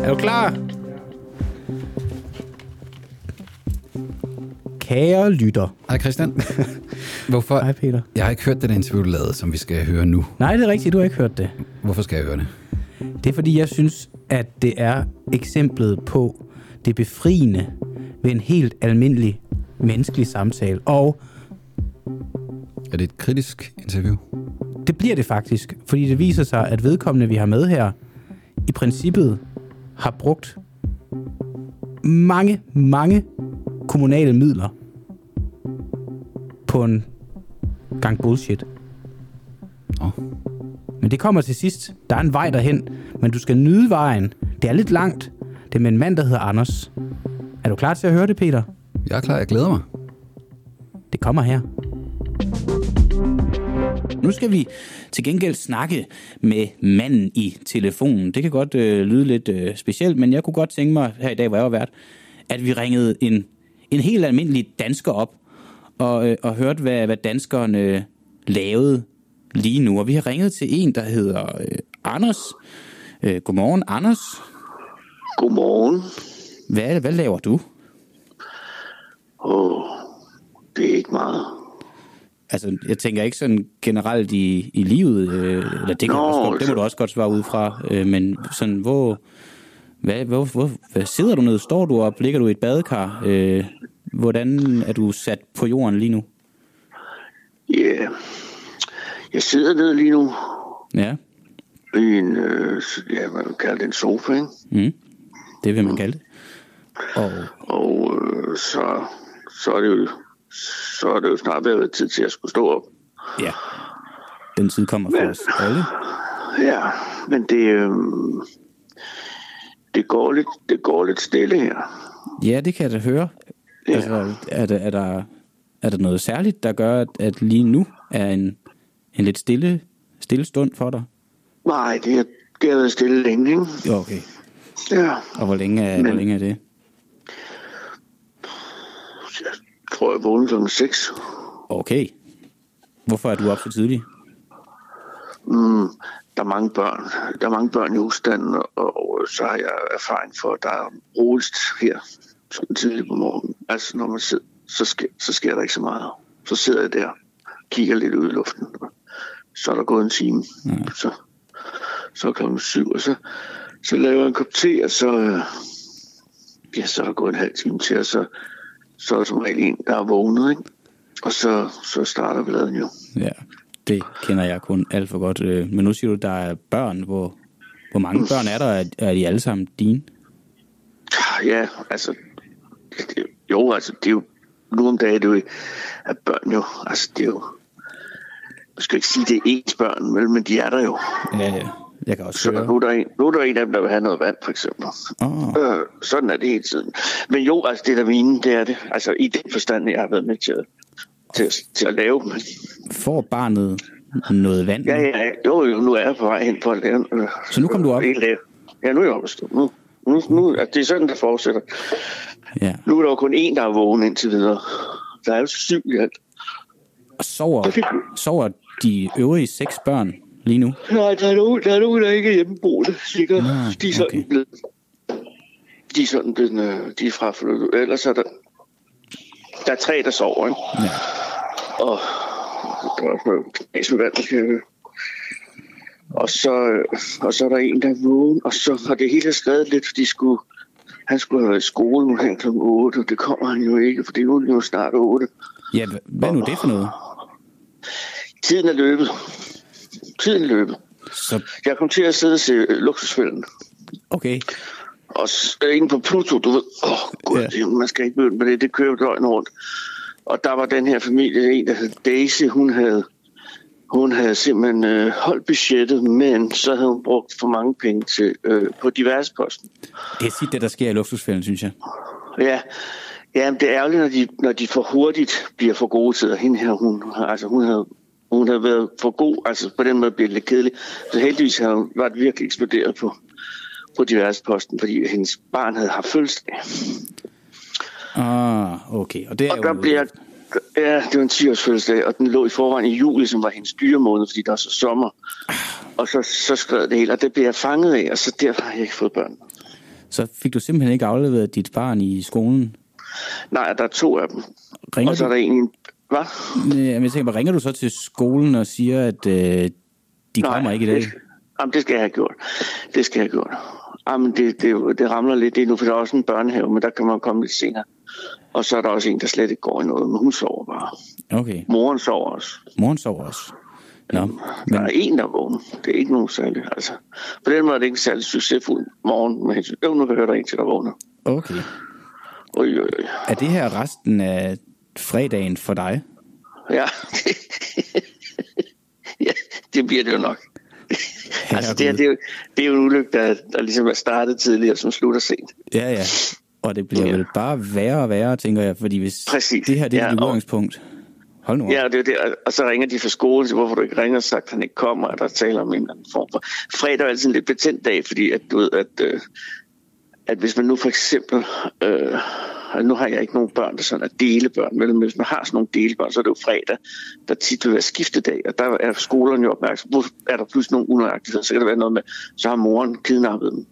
Er du klar? Kære lytter. Hej Christian. Hvorfor? Hej Peter. Jeg har ikke hørt det interview, du lavede, som vi skal høre nu. Nej, det er rigtigt, du har ikke hørt det. Hvorfor skal jeg høre det? Det er fordi, jeg synes, at det er eksemplet på det befriende ved en helt almindelig menneskelig samtale. Og Er det et kritisk interview? det bliver det faktisk, fordi det viser sig, at vedkommende, vi har med her, i princippet har brugt mange, mange kommunale midler på en gang bullshit. Nå. Men det kommer til sidst. Der er en vej derhen, men du skal nyde vejen. Det er lidt langt. Det er med en mand, der hedder Anders. Er du klar til at høre det, Peter? Jeg er klar, jeg glæder mig. Det kommer her. Nu skal vi til gengæld snakke med manden i telefonen. Det kan godt øh, lyde lidt øh, specielt, men jeg kunne godt tænke mig her i dag, hvor jeg var vært, at vi ringede en, en helt almindelig dansker op og, øh, og hørte, hvad, hvad danskeren øh, lavede lige nu. Og vi har ringet til en, der hedder øh, Anders. Øh, godmorgen, Anders. Godmorgen. Hvad, hvad laver du? Åh, det er ikke meget. Altså, jeg tænker ikke sådan generelt i, i livet, øh, eller det, kan Nå, du også, godt- det må så- du også godt svare ud fra, øh, men sådan, hvor, hvad, hvor, hvor, hvad sidder du ned? Står du op? Ligger du i et badekar? Øh, hvordan er du sat på jorden lige nu? Ja, yeah. jeg sidder nede lige nu Ja, i en, øh, ja, hvad man kalder det, en sofa, ikke? mm. det vil man kalde det. Og Og øh, så, så er det jo så er det jo snart været tid til at skulle stå op. ja, den tid kommer for Men- os alle. Ja, men det, øh, det, går lidt, det går lidt stille her. Ja, det kan jeg da høre. Ja. Altså, er, der, er, der, er der noget særligt, der gør, at, at lige nu er en, en lidt stille, stille stund for dig? Nej, det, er- det har været stille længe, ikke? Jo, okay. Ja, Og hvor længe er, Men... Men- hvor længe er det? jeg tror, jeg vågnede klokken 6. Okay. Hvorfor er du op så tidligt? Mm, der er mange børn. Der er mange børn i husstanden, og så har jeg erfaring for, at der er roligst her sådan tidligt på morgenen. Altså, når man sidder, så sker, så sker der ikke så meget. Så sidder jeg der, kigger lidt ud i luften. Så er der gået en time. Mm. Så, så er klokken syv, og så, så laver jeg en kop te, og så, øh, ja, så er der gået en halv time til, og så, så er der som regel en, der er vågnet, ikke? Og så, så starter balladen jo. Ja, det kender jeg kun alt for godt. øh, Men nu siger du, der er børn. Hvor, hvor mange børn er der? Er- Er de alle sammen dine? Ja, altså, det, jo, altså, det er jo, nu om dagen er det jo, at børn jo, altså, det er jo, jeg skal ikke sige, det er ens børn, vel, men de er der jo. Ja, ja. Jeg kan også Så høre. nu, er der en, nu er der en af dem, der vil have noget vand, for eksempel. Åh, Øh, sådan er det hele tiden. Men jo, altså, det er der mine, det er det. Altså, i den forstand, jeg har været med til at, til, at- til at lave. Men, får barnet noget vand? ja, ja, ja, jo, jo, nu er jeg på vej hen for at lave. øh, Så nu kom du op? Helt lave. Ja, nu er jeg oppe at stå. Nu, nu, nu, altså, det er sådan, der fortsætter. ja. Nu er der jo kun én, der er vågen indtil videre. Der er jo syv i alt. Og sover, sover de øvrige seks børn lige nu? Nej, der er nogen, der, er nogen, der ikke er hjemmeboende, sikkert. Nå, de er sådan Ah, okay. blevet... De er sådan blevet... øh, De er fraflyttet. Ellers er der... Der er tre, der sover, ikke? Ja. Og... Der er også noget glas med vand, der kan- og så, øh, og så er der en, der er vågen, og så har det hele skrevet lidt, fordi skulle, han skulle have været i skole nu her kl. 8, og det kommer han jo ikke, for det er jo nu snart 8. ja, hva- hvad er nu det for noget? Tiden er løbet. Tiden er løbet. Så, Jeg kom til at sidde og se øh, luksusfælden. okay. Og s- øh, inde på Pluto, du ved, åh oh, gud, Ja. ja. man skal ikke begynde med det, det kører jo døgnet rundt. Og der var den her familie, en der hed Daisy, hun havde, hun havde simpelthen øh, holdt budgettet, men så havde hun brugt for mange penge til, øh, på diverse posten. Det er tit det, der sker i luksusfælden, synes jeg. Ja, ja men det er ærgerligt, når de, når de for hurtigt bliver for gode til, og hende her, hun, har- altså, hun havde hun havde været for god, altså på den måde bliver det lidt kedeligt. Så heldigvis havde hun været virkelig eksploderet på, på diverse posten, fordi hendes barn havde haft fødselsdag. Ah, okay. Og det er Og der jo... bliver, Ja, det var en 10-års fødselsdag, og den lå i forvejen i juli, som var hendes dyremåned, fordi der er så sommer. Og så, så skred det hele, og det blev jeg fanget af, og så derfor har jeg ikke fået børn. Så fik du simpelthen ikke afleveret dit barn i skolen? Nej, der er to af dem. Ringer og så er du? der en... Hvad? Øh, men jeg tænker, bare, ringer du så til skolen og siger, at øh, de Nej, kommer ikke i dag? Det, jamen, det skal jeg have gjort. Det skal jeg have gjort. Jamen, det, det, det ramler lidt endnu, for der er også en børnehave, men der kan man komme lidt senere. Og så er der også en, der slet ikke går i noget, men hun sover bare. Okay, Moren sover også. moren sover også. Nå, Der er men, en, der er vågen. Det er ikke nogen særlig. Altså, på den måde er det ikke en særlig succesfuld morgen. Men jo, nu hører der en til, der vågner. okay. Øj, øj, øj. Er det her resten af fredagen for dig? Ja. ja, det bliver det jo nok. altså, det, her, det, er jo, det er jo en ulykke, der, der ligesom er startet tidligere, som slutter sent. Ja, ja. Og det bliver Ja. vel bare værre og værre, tænker jeg, fordi hvis Præcis. det her det er Ja, ja, dit og- udgangspunkt... Hold nu op. Ja, og, det, er jo det, og så ringer de fra skolen, så hvorfor du ikke ringer, sagt, at han ikke kommer, og der taler om en eller anden form for... Fredag er altid en lidt betændt dag, fordi at, du ved, at, øh, at hvis man nu for eksempel... Øh, og nu har jeg ikke nogen børn, der sådan er delebørn, men hvis man har sådan nogle delebørn, så er det jo fredag, der tit vil være skiftedag, og der er skolerne jo opmærksom. Hvor er der pludselig nogle unøjagtigheder, så kan der være noget med, så har moren kidnappet dem.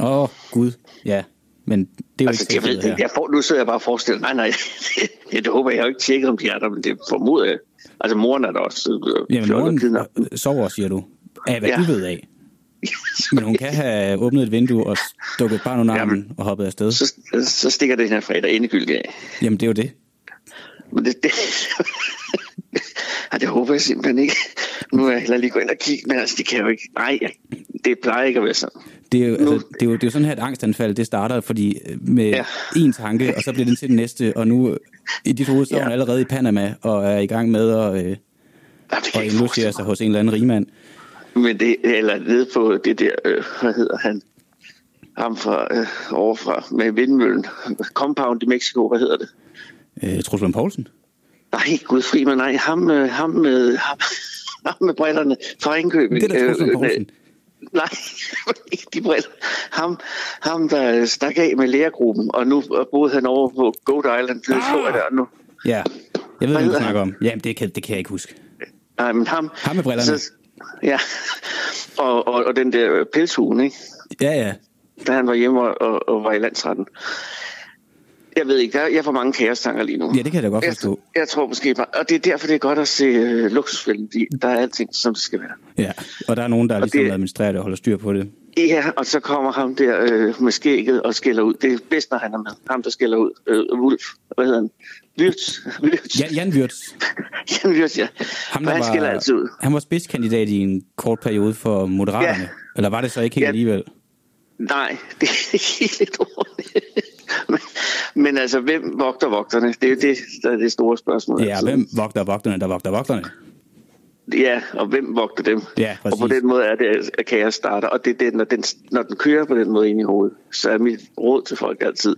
Åh, oh, Gud. Ja, men det er jo Altså, ikke jeg ved, tilfældet det. her. jeg får, nu sidder jeg bare og forestiller, nej, nej, det, det håber jeg. jeg har jo ikke tjekket, om de er der, men det formoder jeg. Altså, moren er der også. Øh, Jamen, fjollet kidnappet. moren sover, siger du. Af hvad ja. Ja. du ved af. Men hun kan have åbnet et vindue og dukket barn under armen og hoppet afsted. så, så stikker det den her fredag endegyldigt af. Jamen, det er jo det. Men det, det, Ej, det håber jeg simpelthen ikke. Nu er jeg heller lige gå ind og kigge, men altså, det kan jeg jo ikke. Nej, jeg, det plejer ikke at være sådan. Det er, jo, Nu- altså, det, er jo, det er jo sådan her, at angstanfald det starter, fordi øh, med Ja. en tanke, og så bliver den til den næste, og nu øh, i dit hoved står Ja. hun allerede i Panama, og er i gang med at, øh, Ej, det kan at jeg ikke forestille indlogere sig hos en eller anden rigmand. mig. Men det, eller nede på det der, øh, hvad hedder han? Ham fra, øh, overfra, med vindmøllen. Compound i Mexico, hvad hedder det? Øh, Truls Lund Poulsen? Nej, Gud fri mig, nej. Ham, øh, ham, med, ham, ham med brillerne fra Ringkøbing. øh, Det er da Truls Lund Poulsen. Nej, ikke de briller. Ham, ham der øh, stak af med lærergruppen, og nu boede han over på Goat Island, nede i Ah! Florida. og Nu. Ja, jeg ved, Hvad hvad du hedder snakker om. Jamen, det kan, det kan jeg ikke huske. Nej, men ham... Ham med brillerne. ja, og, og, og den der øh, pelshuen, ikke? Ja, ja. da han var hjemme og, og, og var i landsretten. Jeg ved ikke, der, jeg får mange kaostanker lige nu. Ja, det kan jeg da godt jeg, forstå. jeg tror måske bare, og det er derfor, det er godt at se øh, luksusfælden, fordi Mm. der er alting, som det skal være. Ja, og der er nogen, der ligesom det- administrerer det og holder styr på det. Ja, og så kommer ham der øh, med skægget og skælder ud. Det er bedst, når han er med. Ham, der skælder ud. Øh, Wolf. Hvad hedder han? Wirtz. Wirtz. Jan, Jan Wirtz, Jan Wirtz, ja. ham, Men der han skælder altid ud. var, han var spidskandidat i en kort periode for Moderaterne. Ja. Eller var det så ikke helt Ja. alligevel? Nej, det er ikke lidt ordentligt. men, men altså, hvem vogter vogterne? Det er jo det, der er det store spørgsmål. Ja, altid. hvem vogter vogterne, der vogter vogterne? Ja, og hvem vogter dem? Ja, præcis. og på den måde er det, at kaos starter. Og det er det, når den, når den kører på den måde ind i hovedet, så er mit råd til folk altid,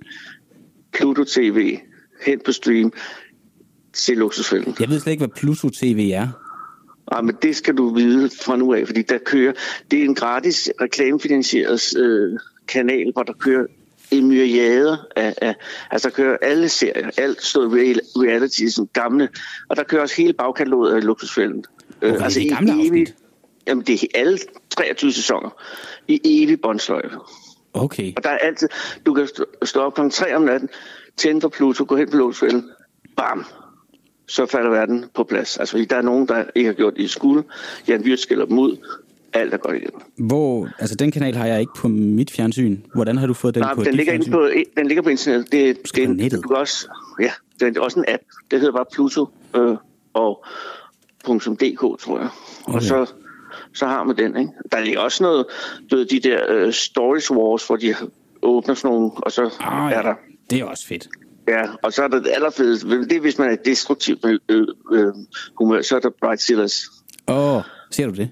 Pluto TV, hen på stream, se luksusfælden. Jeg ved slet ikke, hvad Pluto TV er. Ja, Ah, men det skal du vide fra nu af, fordi der kører, det er en gratis reklamefinansieret øh, kanal, hvor der kører en myriade af, af, altså der kører alle serier, alt stod real, reality, som gamle, og der kører også hele bagkataloget af luksusfælden. Øh, Okay, det er gamle i afsnit. Jamen, det er alle 23 sæsoner i evig båndsløjfe. Okay. Og der er altid, du kan stå- stå op kl. 3 om natten, tænde for Pluto, gå hen på låsfælden, bam, så falder verden på plads. Altså, fordi der er nogen, der ikke har gjort det i skole. Jan Wirt skiller dem ud. Alt er godt igen. Hvor, altså den kanal har jeg ikke på mit fjernsyn. Hvordan har du fået den Nej, på den dit ligger, inde fjernsyn? på, den ligger på internettet. Det, det, skal er på en- nettet. Du kan også, ja, det er også en app. Det hedder bare Pluto øh, og .dk, tror jeg. Okay. Og så, så har man den, ikke? Der ligger også noget, du ved, de der øh, Stories Wars, hvor de åbner sådan nogle, og så Ah, er der ja. Det er også fedt. Ja, og så er der det allerfedeste, men det er, hvis man er destruktiv med øh, øh, humør, så er der Bright Steelers. Åh, oh, ser du det?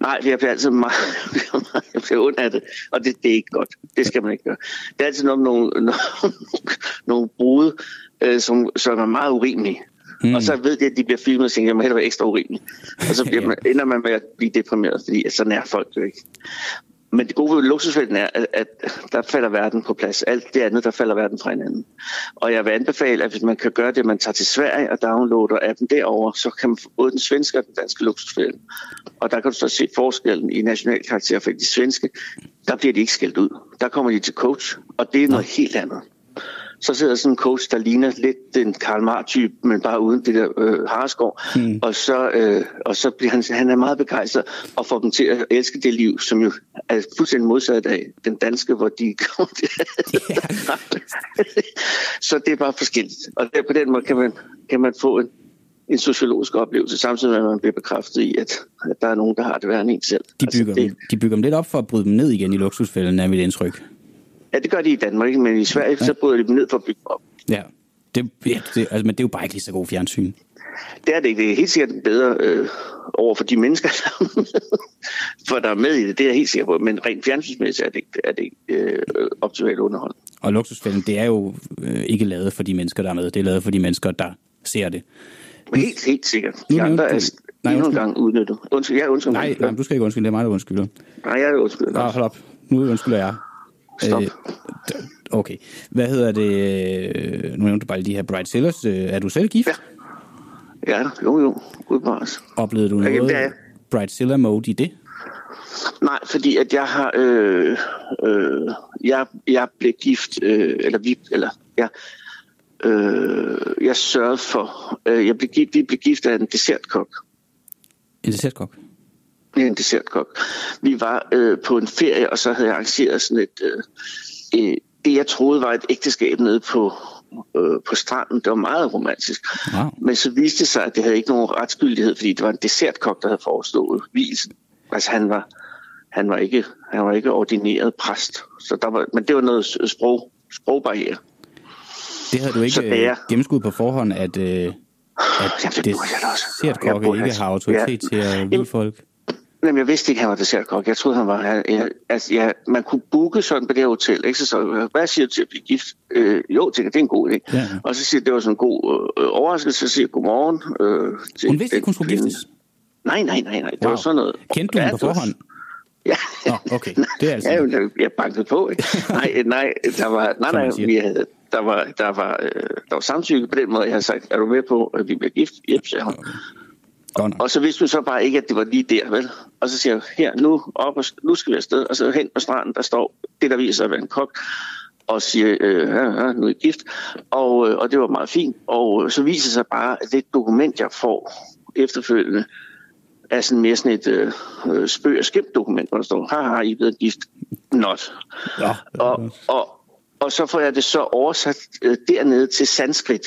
Nej, jeg bliver altid meget, jeg bliver ondt af det, og det, det er ikke godt. Det skal man ikke gøre. Det er altid noget om nogle, nogle, nogle brude, øh, som, som er meget urimelige. Mm. Og så ved de, at de bliver filmet, og tænker, jeg må hellere være ekstra urimelig. Og så bliver man, ender man med at blive deprimeret, fordi at sådan er folk jo ikke. Men det gode ved luksusfælden er, at, at der falder verden på plads. Alt det andet, der falder verden fra hinanden. Og jeg vil anbefale, at hvis man kan gøre det, at man tager til Sverige og downloader appen derover, så kan man få både den svenske og den danske luksusfælde. Og der kan du så se forskellen i national karakter, for de svenske, der bliver de ikke skældt ud. Der kommer de til coach, og det er noget helt andet. Så sidder sådan en coach, der ligner lidt den Karl Marr-type, men bare uden det der øh, hareskov. Mm. Og, så, øh, og så bliver han, han er meget begejstret og får dem til at elske det liv, som jo er fuldstændig modsat af den danske, hvor de kom til. så det er bare forskelligt. Og der, på den måde kan man, kan man få en, en sociologisk oplevelse, samtidig med, at man bliver bekræftet i, at, at der er nogen, der har det værre end en selv. De bygger, altså, det, de bygger dem lidt op for at bryde dem ned igen i luksusfælden, er mit indtryk. Ja, det gør de i Danmark, ikke? men i Sverige, så bryder de dem ned for at bygge dem op. Ja, det, ja det, altså, men det er jo bare ikke lige så god fjernsyn. Det er det ikke. Det er helt sikkert bedre øh, over for de mennesker, der er med, for der er med i det. Det er jeg helt sikker på. Men rent fjernsynsmæssigt er det ikke, er det ikke øh, optimalt underhold. Og luksusfælden, det er jo øh, ikke lavet for de mennesker, der er med. Det er lavet for de mennesker, der ser det. Men helt, helt sikkert. De Nu nævnte andre du- er Nej, endnu en undskyld. gang udnyttet. Undskyld, jeg er undskyld. Nej, nej, du skal ikke undskylde. Det er mig, der undskylder. Nej, jeg er undskyld. Nå, hold op. Nu undskylder jeg. Øh, Stop. d- okay. Hvad hedder det? øh, Nu nævnte du bare lige de her Bright Sellers. Øh, Er du selv gift? Ja. Ja, jo, jo. Udbart. Oplevede du Ja, noget det er jeg. Bright Seller mode i det? Nej, fordi at jeg har... Øh, øh, jeg, jeg blev gift, øh, eller vi... Eller, jeg, øh, jeg sørgede for... Øh, jeg blev, gift- vi blev gift af en dessertkok. En dessertkok? Ja, en dessertkok. Vi var øh, på en ferie, og så havde jeg arrangeret sådan et... Øh, øh, det, jeg troede var et ægteskab nede på, øh, på stranden. Det var meget romantisk. Wow. Men så viste det sig, at det havde ikke nogen retsgyldighed, fordi det var en dessertkok, der havde forestået vielsen. Altså han var, han var, ikke, han var ikke ordineret præst. Så der var, men det var noget s- sprog, sprogbarriere. Det havde du ikke Så det er- øh, gennemskudt på forhånd, at, øh, Jamen, at det burde jeg da også. Jeg dessertkokke burde ikke have- har autoritet Ja. til at vide Jamen- folk? Jamen, jeg vidste ikke, han var dessertkok. Jeg troede, han var... Jeg, jeg, altså, jeg, man kunne booke sådan på det her hotel, ikke? Så, så hvad siger du til at blive gift? Øh, jo, tænker, jeg, det er en god idé. Ja. Og så siger jeg, det var sådan en god øh, overraskelse. Så siger jeg, godmorgen. Øh, til Hun vidste den ikke, hun skulle kvinde. giftes? Nej, nej, nej, nej. Det Wow. var sådan noget... Kendte du hende Ja, på det var- forhånd? Ja. Nå, okay. Det er altså- Ja, jeg, jeg bankede på, ikke? Nej, øh, nej, der var, nej, Som nej man siger. vi havde, der var, der, var, øh, der var samtykke på den måde. Jeg havde sagt, er du med på, at vi bliver gift? Jep, sagde hun. Godt nok. Og så vidste hun så bare ikke, at det var lige der, vel? Og så siger jeg, her, nu, op og, nu skal vi afsted. Og så hen på stranden, der står det, der viser at være en kok. Og siger, øh, ja, ja, nu er jeg gift. Og, øh, og det var meget fint. Og øh, så viser det sig bare, at det dokument, jeg får efterfølgende, er sådan mere sådan et øh, øh, spøg- og skæmt-dokument, hvor der står, haha, I er blevet gift. Not. Ja. Og, og, og så får jeg det så oversat øh, dernede til sanskrit.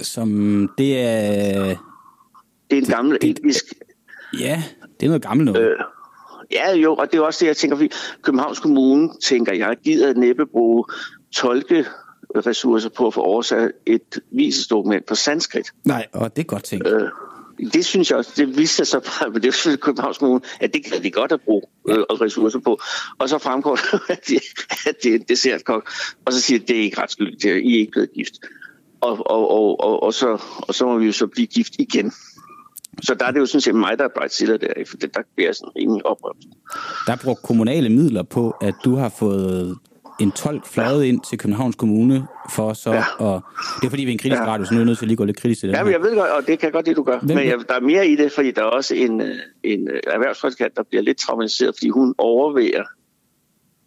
Som det er... Det er en gammel det- indisk Ja, det er noget gammelt noget. Øh, ja, jo, og det er også det, jeg tænker, fordi Københavns Kommune, tænker jeg, gider næppe bruge tolkeressourcer på at få oversat et visesdokument på sanskrit. Nej, og det er godt tænkt. Øh, det synes jeg også, det viste sig så bare, men det er jo selvfølgelig Københavns Kommune, at det kan de godt at bruge øh, og ressourcer på. Og så fremgår det, at det, at det er en dessertkok, og så siger de, det er ikke ret skyldigt, det er- I er ikke blevet gift. Og, og, og, og, og, så, og så må vi jo så blive gift igen. Så der er det jo sådan set mig, der er bridezilla der, ikke? for det- der bliver jeg sådan rimelig oprømt. Der er brugt kommunale midler på, at du har fået en tolk fløjet ind til Københavns Kommune for så ja. Ja. at... Det er fordi, vi er en kritisk ja. Ja. radio, så nu er jeg nødt til at lige gå lidt kritisk til det Ja, men jeg ved godt, og det kan jeg godt lide, du gør. Hvem- men jeg, der er mere i det, fordi der er også en, øh, en øh, erhvervskonsulent, der bliver lidt traumatiseret, fordi hun overvejer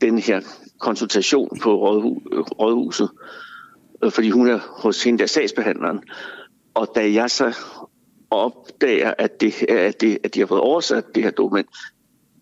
den her konsultation på rådhu- øh, rådhuset, øh, fordi hun er hos hende der sagsbehandleren. Og da jeg så opdager, at, det, at, det, at de har fået oversat det her dokument,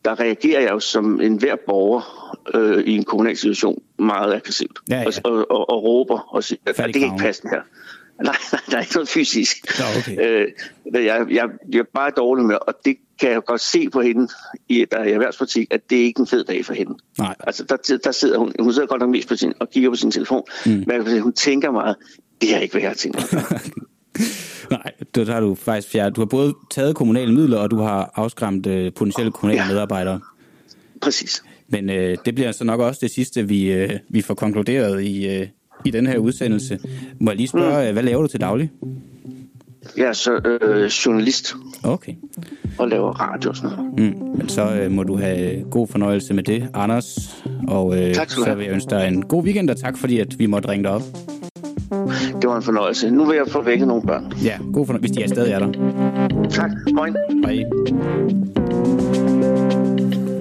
der reagerer jeg jo som enhver borger øh, i en kommunal situation meget aggressivt. Ja, ja. Og, og, og, og råber og siger, at Fat i det kan ikke kraven." passe det her. Nej, nej, der er ikke noget fysisk. Nå, okay. Øh, men jeg, jeg, jeg er bare dårlig med, og det kan jeg godt se på hende, i, der er i erhvervspolitik, at det er ikke en fed dag for hende. Nej. Altså, der, der sidder hun, hun sidder godt nok mest på sin, og kigger på sin telefon, mm. men jeg kan se, hun tænker meget, det er ikke, hvad jeg har tænkt mig. Nej, det har du faktisk fjernet. Du har både taget kommunale midler, og du har afskræmt øh, potentielle kommunale ja. Ja. medarbejdere. Præcis. Men øh, det bliver så nok også det sidste, vi, øh, vi får konkluderet i, øh, i den her udsendelse. Må jeg lige øh, spørge, mm. hvad laver du til daglig? Jeg er så øh, journalist Okay. og laver radio og sådan noget. Mm. Men så øh, må du have god fornøjelse med det, Anders. Og øh, Tak skal du så have. vil jeg ønske dig en god weekend, og tak fordi, at vi måtte ringe dig op. Det var en fornøjelse. Nu vil jeg få vækket nogle børn. Ja, god fornøjelse, hvis de er stadig er der. Tak. Moin. Hej.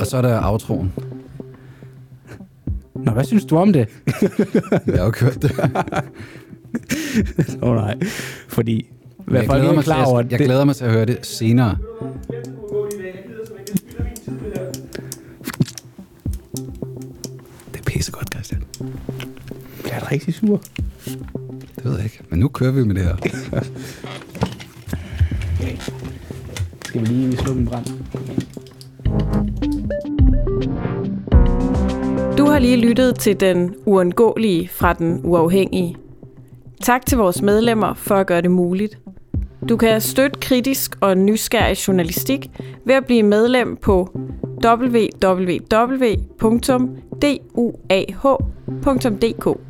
Og så er der aftroen. Nå, hvad synes du om det? Jeg har jo kørt det. Åh oh, nej, fordi... Hvad Jeg folk ikke glæder, er mig til, klar over, at, jeg det, glæder mig til at høre det senere. Det er pissegodt, Christian. bliver jeg rigtig sur. Det ved jeg ikke. Men nu kører vi med det her. Skal vi lige slukke en brand? Du har lige lyttet til Den Uundgåelige fra Den Uafhængige. Tak til vores medlemmer for at gøre det muligt. Du kan støtte kritisk og nysgerrig journalistik ved at blive medlem på www.duah.dk